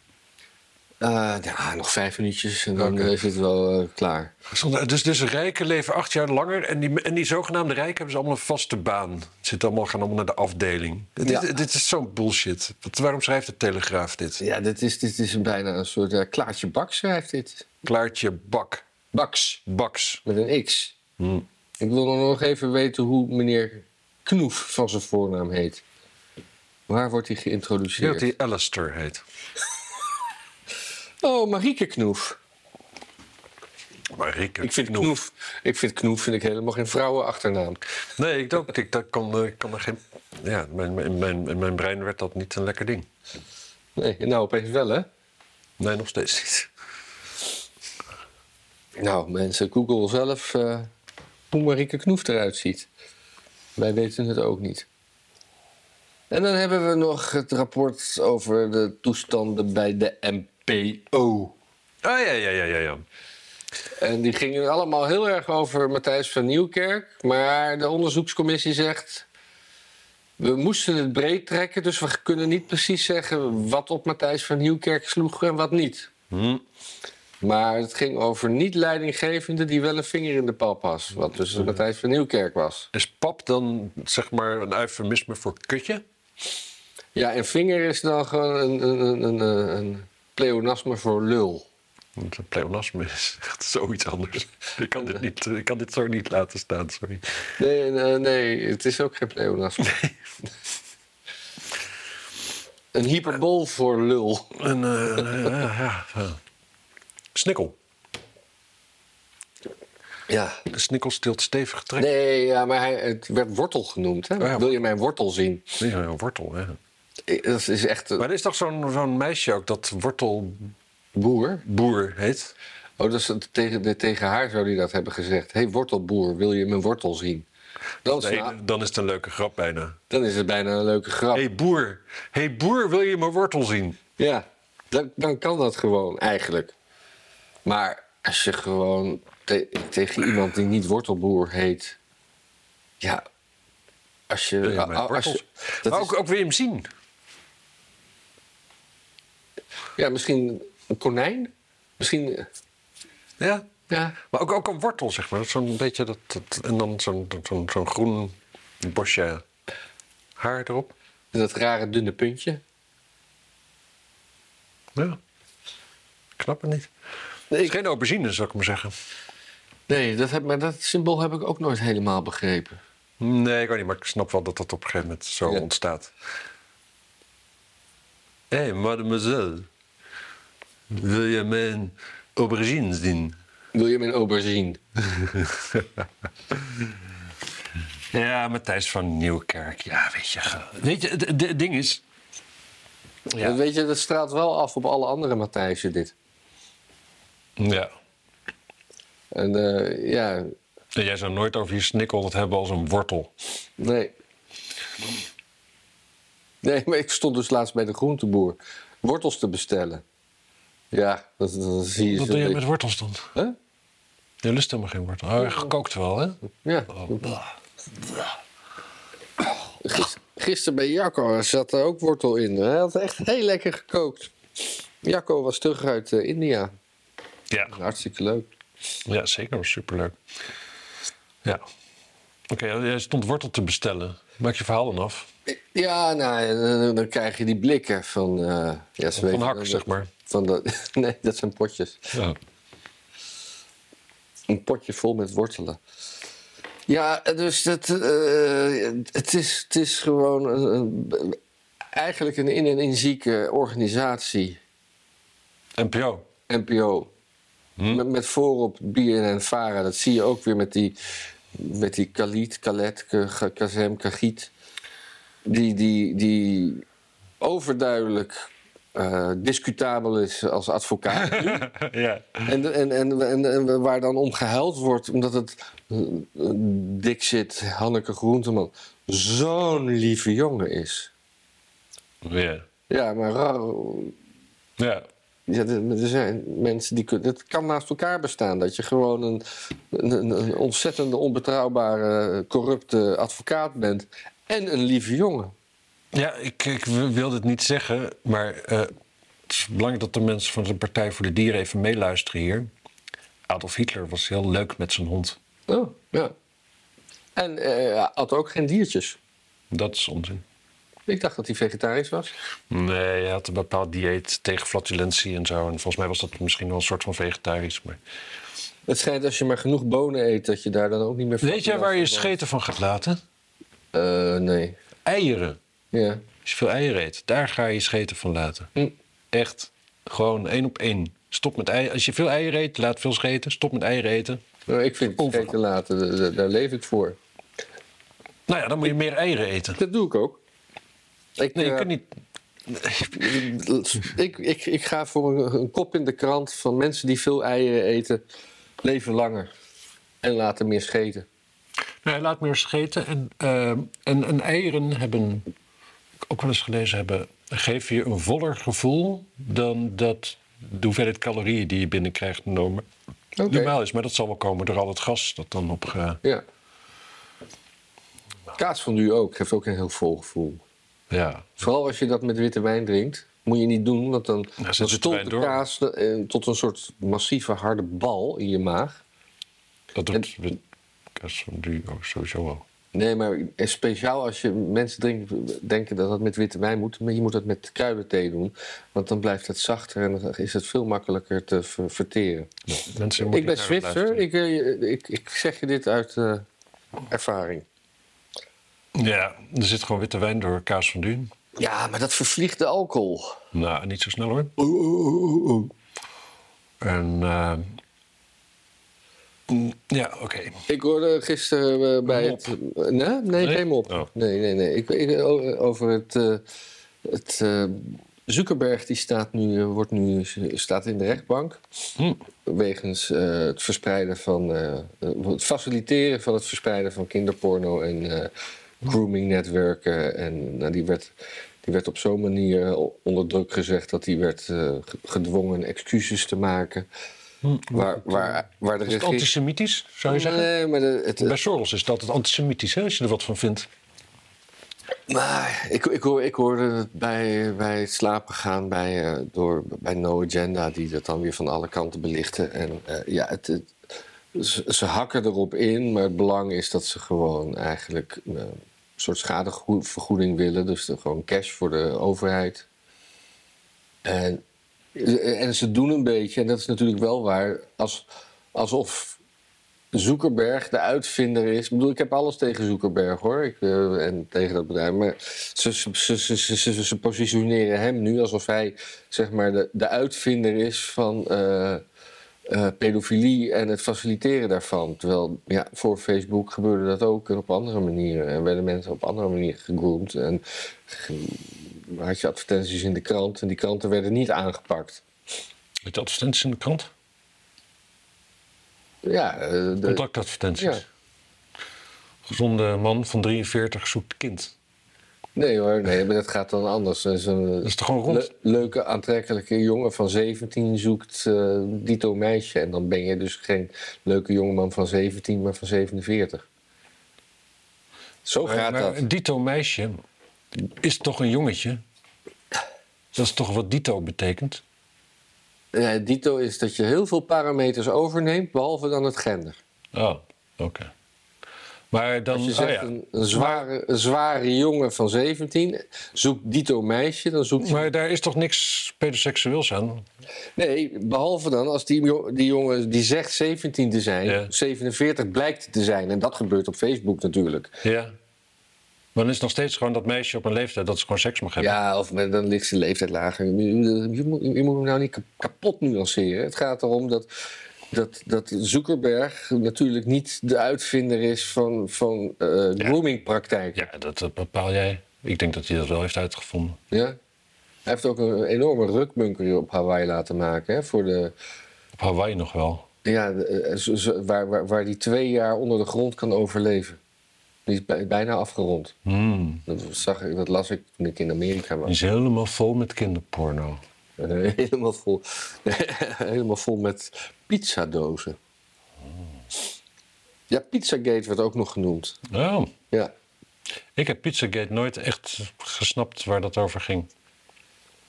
Eh, ja, nog vijf minuutjes en dan Oké. eh, is het wel eh, klaar. Zonder- Dus, dus rijken leven acht jaar langer. En die, en die zogenaamde rijken hebben ze allemaal een vaste baan. Zit allemaal, gaan allemaal naar de afdeling. Dit, Ja. is- dit is zo'n bullshit. Wat, waarom schrijft de Telegraaf dit? Ja, dit is, dit is een bijna een soort eh, Klaartje Bak schrijft dit. Klaartje Bak. Baks, Baks. met een X. Ik wil dan nog even weten hoe meneer Knoef van zijn voornaam heet. Waar wordt hij Ik denk geïntroduceerd? dat hij Alistair heet. Oh, Marieke Knoef. Maar Rieke. Ik vind Knoef. Ik vind Knoef vind ik helemaal geen vrouwenachternaam. Nee, ik ook. Ik dat kan, eh, ik kan er geen... Ja, mijn, mijn, mijn, in mijn brein werd dat niet een lekker ding. Nee, nou opeens wel, hè? Nee, nog steeds niet. Nou, mensen, Google zelf eh, hoe Marieke Knoef eruit ziet. Wij weten het ook niet. En dan hebben we nog het rapport over de toestanden bij de MPO. Ah, ja, ja, ja, ja, ja. En die gingen allemaal heel erg over Matthijs van Nieuwkerk. Maar de onderzoekscommissie zegt... We moesten het breed trekken, dus we kunnen niet precies zeggen... wat op Matthijs van Nieuwkerk sloeg en wat niet. Hm. Maar het ging over niet-leidinggevende die wel een vinger in de pap was. Wat dus Matthijs van Nieuwkerk was. Is pap dan zeg maar een eufemisme voor kutje? Ja, en vinger is dan gewoon een, een, een, een, een pleonasme voor lul. Want een pleonasme is echt zoiets anders. Ik kan dit, niet, ik kan dit zo niet laten staan, sorry. Nee, nee, nee, het is ook geen pleonasme. Een hyperbool voor lul. En, eh, eh, ja, ja. Snikkel. Ja. De snikkel steelt stevig trek. Nee, ja, maar hij, het werd wortel genoemd. Hè? Oh ja. Wil je mijn wortel zien? Nee, een wortel, hè. Ik- Dat is echt een Maar er is toch zo'n zo'n meisje ook dat wortelboer boer. heet? Oh, dat is, het- tegen, de- tegen haar zou die dat hebben gezegd. hey, wortelboer, wil je mijn wortel zien? Dan, is- Nee, nou, dan is het een leuke grap bijna. dan is het bijna een leuke grap. Hé hey, boer, hey, boer, wil je mijn wortel zien? Ja, dan, dan kan dat gewoon eigenlijk. Maar als je gewoon te- tegen iemand die niet wortelboer heet... Ja, als je... Wil je mijn als je- wortels? dat Maar is- ook, ook wil je hem zien? ja, misschien een konijn? Misschien... Ja. Ja, Maar ook, ook een wortel, zeg maar. Zo'n beetje dat, dat- en dan zo'n zo'n zo'n groen bosje haar erop. dat rare dunne puntje. Ja. Ik snap het niet. Nee, Het is geen aubergine, zou ik maar zeggen. Nee, dat heb, maar dat symbool heb ik ook nooit helemaal begrepen. Nee, ik weet niet, maar ik snap wel dat dat op een gegeven moment zo Ja. ontstaat. Hé, hey, mademoiselle. Wil je mijn aubergine zien? Wil je mijn aubergine? Ja, Matthijs van Nieuwkerk. Ja, weet je. ge- Weet je, het- het ding is... Ja. Weet je, dat straalt wel af op alle andere Matthijsen dit. Ja. En eh, ja, Jij zou nooit over je snikkel dat hebben als een wortel. nee. Nee, maar ik stond dus laatst bij de groenteboer wortels te bestellen. Ja, dat, dat zie je Wat zo doe je een met wortels dan? beetje. Huh? Je lust helemaal geen wortel. Oh, gekookt wel, hè? Ja. Oh. Gis- Gisteren bij Jacco zat er ook wortel in. Hij had echt heel lekker gekookt. Jacco was terug uit eh, India. Ja. Hartstikke leuk. Ja, zeker. was Superleuk. eh, Ja. Oké, jij stond wortel te bestellen. Maak je verhaal dan af. Ja, nou, ja, dan, dan krijg je die blikken van... eh, ja, ze Van weten Hak, dat- zeg maar. Van dat, nee, dat zijn potjes. Ja. Een potje vol met wortelen. Ja, dus dat, eh, het, is, het is gewoon een, een- eigenlijk een in- en inzieke organisatie, NPO. NPO. Met, met voorop BNN en Vara. Dat zie je ook weer met die, met die Khalid, Khaled, K- K- Kazem, Kagiet. Die, die, die overduidelijk eh, discutabel is als advocaat. ja. En, en, en, en, en waar dan om gehuild wordt, omdat het eh, eh, Dixit Hanneke Groenteman zo'n lieve jongen is. Ja. Ja, maar raar, Ja. ja, er er zijn mensen die kunnen. Het kan naast elkaar bestaan dat je gewoon een, een, een ontzettende onbetrouwbare, corrupte advocaat bent en een lieve jongen. Ja, ik, ik wil dit niet zeggen, maar eh, het is belangrijk dat de mensen van de Partij voor de Dieren even meeluisteren hier. Adolf Hitler was heel leuk met zijn hond. Oh, ja. En eh, had ook geen diertjes. Dat is onzin. Ik dacht dat hij vegetarisch was. Nee, hij had een bepaald dieet tegen flatulentie en zo. En volgens mij was dat misschien wel een soort van vegetarisch. Maar... Het schijnt als je maar genoeg bonen eet, dat je daar dan ook niet meer Weet jij waar je van- scheten van gaat laten? Eh, nee. Eieren. Ja. Als je veel eieren eet, daar ga je scheten van laten. Hm. Echt, gewoon één op één. Stop met eieren. Als je veel eieren eet, laat veel scheten. Stop met eieren eten. Nou, ik vind het Overal. zeker laten, daar- Eh, daar- daar leef ik voor. Nou ja, dan moet je meer eieren eten. Dat doe ik ook. Ik, Nee, je eh, kunt niet... ik, ik, ik ga voor een, een kop in de krant van mensen die veel eieren eten, leven langer en laten meer scheten. Nee, laat meer scheten. En, eh, en, en eieren hebben, ik ook wel eens gelezen hebben, geven je een voller gevoel dan dat de hoeveelheid calorieën die je binnenkrijgt norm- Oké. normaal is. Maar dat zal wel komen door al het gas dat dan op. ge- Ja. Kaas van nu ook, geeft ook een heel vol gevoel. ja. Vooral als je dat met witte wijn drinkt, moet je niet doen, want dan, zit dan de stolt wijn de door. kaas eh, tot een soort massieve harde bal in je maag. Dat doet kaas van nu ook sowieso al. Nee, maar speciaal als je mensen drinken, denken dat dat met witte wijn moet. Maar je moet dat met kruidenthee doen. Want dan blijft het zachter en dan is het veel makkelijker te ver- verteren. Mensen moeten ik ben daar Zwitser. luisteren. Ik, eh, ik, ik zeg je dit uit eh, ervaring. Ja, er zit gewoon witte wijn door kaas van Duin. Ja, maar dat vervliegt de alcohol. Nou, niet zo snel hoor. Oeh, oeh, oeh, oeh, oeh. En eh, mm, ja, oké. Ik hoorde gisteren eh, bij Mop. het... eh, nee, nee, Nee? geen mop. Oh. Nee, nee, nee. Ik, ik, o- over het... eh, het eh, Zuckerberg die staat nu, eh, wordt nu, staat in de rechtbank. Hm. wegens eh, het verspreiden van eh, eh, het faciliteren van het verspreiden van kinderporno en eh, Hm. grooming netwerken en nou, die werd die werd op zo'n manier o- onder druk gezegd dat die werd eh, ge- gedwongen excuses te maken waar, waar, waar de Hm. Is het regering antisemitisch, zou je zeggen? nee maar de, het, Bij Soros is dat het antisemitisch, hè, als je er wat van vindt. Maar ik, ik, hoor, ik hoorde het bij, bij het slapen gaan bij, eh, door, bij No Agenda, die dat dan weer van alle kanten belichten. En eh, ja, het, het- ze, ze hakken erop in, maar het belang is dat ze gewoon eigenlijk eh, een soort schadevergoeding willen. Dus er gewoon cash voor de overheid. En, en ze doen een beetje, en dat is natuurlijk wel waar, als, alsof Zuckerberg de uitvinder is. Ik bedoel, ik heb alles tegen Zuckerberg hoor. Ik, eh, en tegen dat bedrijf. Maar ze, ze, ze, ze, ze, ze- ze positioneren hem nu alsof hij zeg maar de, de uitvinder is van eh, eh, pedofilie en het faciliteren daarvan. Terwijl ja, voor Facebook gebeurde dat ook en op andere manieren. En werden mensen op andere manieren gegroomd. En ge- had je advertenties in de krant en die kranten werden niet aangepakt. Met de advertenties in de krant? Ja, eh, de- Contactadvertenties. Ja. Gezonde man van 43 zoekt kind. Nee hoor, nee, maar dat gaat dan anders. Dat is een Dat is toch gewoon rond? le- leuke, aantrekkelijke jongen van 17 zoekt eh dito meisje. En dan ben je dus geen leuke jongeman van 17, maar van 47. Zo gaat maar dat. een dito meisje is toch een jongetje? Dat is toch wat dito betekent? Ja, dito is dat je heel veel parameters overneemt, behalve dan het gender. Oh, oké. Maar dan, Als Dus je oh zegt ja. een, een zware, een zware jongen van 17 zoekt dito meisje, dan zoekt maar daar is toch niks pedoseksueels aan? Nee, behalve dan als die, jo- die jongen die zegt 17 te zijn, Ja. 47 blijkt te zijn. En dat gebeurt op Facebook natuurlijk. Ja. Maar dan is het nog steeds gewoon dat meisje op een leeftijd dat ze gewoon seks mag hebben. Ja, of met, dan ligt zijn leeftijd lager. Je, je moet, je moet hem nou niet ka- kapot nuanceren. Het gaat erom dat, dat, dat Zuckerberg natuurlijk niet de uitvinder is van, van eh groomingpraktijk. Ja, dat, dat bepaal jij. Ik denk dat hij dat wel heeft uitgevonden. Ja? Hij heeft ook een enorme rukbunker op Hawaii laten maken hè, voor de, Op Hawaii nog wel. Ja, eh, zo- zo- waar, waar, waar die twee jaar onder de grond kan overleven. Die is bij- bijna afgerond. Hmm. Dat, zag ik, dat las ik toen ik in Amerika Die was. is helemaal vol met kinderporno. Eh, helemaal, vol, helemaal vol met pizzadozen. Ja, Pizzagate werd ook nog genoemd. Oh. Ja. Ik heb Pizzagate nooit echt gesnapt waar dat over ging.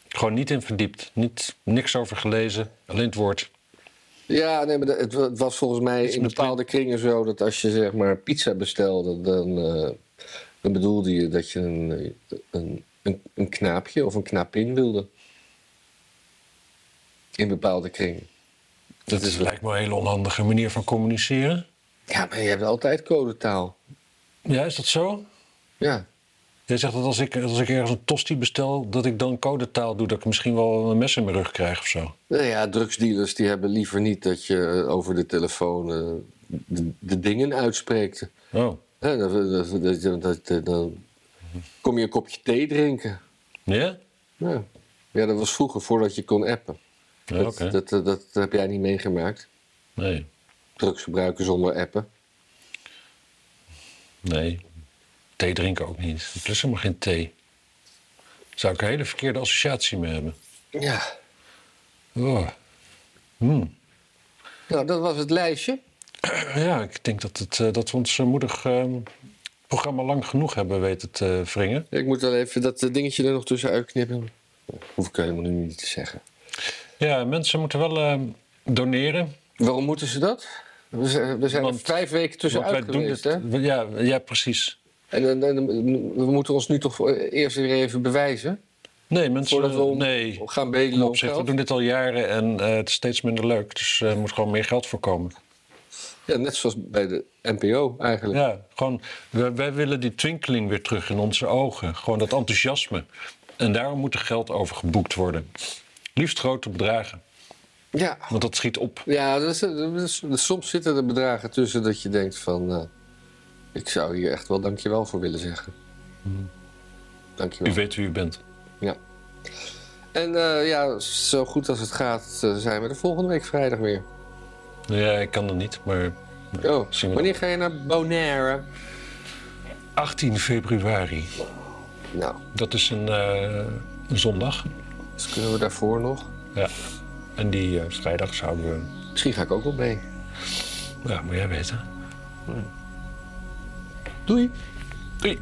Gewoon niet in verdiept. Niet, niks over gelezen. Alleen het woord. Ja, nee, maar dat- het wa- het was volgens mij in met bepaalde kringen zo dat als je zeg maar pizza bestelde, dan, eh, dan bedoelde je dat je een, eh, een, een, een knaapje of een knapin wilde. In bepaalde kringen. Dat is, lijkt me een hele onhandige manier van communiceren. Ja, maar je hebt altijd codetaal. Ja, is dat zo? Ja. Jij zegt dat als ik, als ik ergens een tosti bestel, dat ik dan codetaal doe, dat ik misschien wel een mes in mijn rug krijg of zo. Nou ja, drugsdealers die hebben liever niet dat je eh, over de telefoon eh, de, de dingen uitspreekt. Oh, Hè, dat- dat- dat- dat- dat- eh, Dan kom je een kopje thee drinken. ja? Ja. ja, dat was vroeger voordat je kon appen. Ja, Dat, Oké. dat, dat, dat heb jij niet meegemaakt. Nee, Drugs gebruiken zonder appen. nee. Thee drinken ook niet. Ik lust helemaal geen thee. Zou ik een hele verkeerde associatie mee hebben. Ja. Oh. Nou, dat was het lijstje. Ja, ik denk dat, het, eh, dat we ons eh, moedig eh, programma lang genoeg hebben weten te wringen. Ik moet wel even dat eh, dingetje er nog tussen uitknippen. Hoef ik helemaal nu niet te zeggen. Ja, mensen moeten wel eh, doneren. Waarom moeten ze dat? We zijn, we zijn er Want- vijf weken tussenuit wij doen geweest, dit- hè? we- ja, ja, precies. En, en- en we moeten ons nu toch eh, eerst weer even bewijzen... Nee, mensen... voordat we om- nee. gaan bedelen Kom om op, zeg, we geld. doen dit al jaren en eh, het is steeds minder leuk. Dus eh, er moet gewoon meer geld voorkomen. Ja, net zoals bij de NPO eigenlijk. Ja, gewoon, wij, wij willen die twinkeling weer terug in onze ogen. Gewoon dat enthousiasme. En daarom moet er geld over geboekt worden. Liefst grote bedragen, Ja, want dat schiet op. Ja, dat is- dat is- dat- soms zitten er bedragen tussen dat je denkt van... eh, ik zou hier echt wel dankjewel voor willen zeggen. U Dankjewel. weet Mhm. wie u bent. Ja. En eh, ja, zo goed als het gaat eh, zijn we de volgende week vrijdag weer. Ja, ik kan dat niet, maar Oh, zien we wanneer ga je naar Bonaire? 18 februari, Nou, dat is een, eh, een zondag. dus kunnen we daarvoor nog? Ja. En die eh, vrijdag zouden we... Misschien ga ik ook wel mee. Ja, moet jij weten. Doei! Hmm. Doei!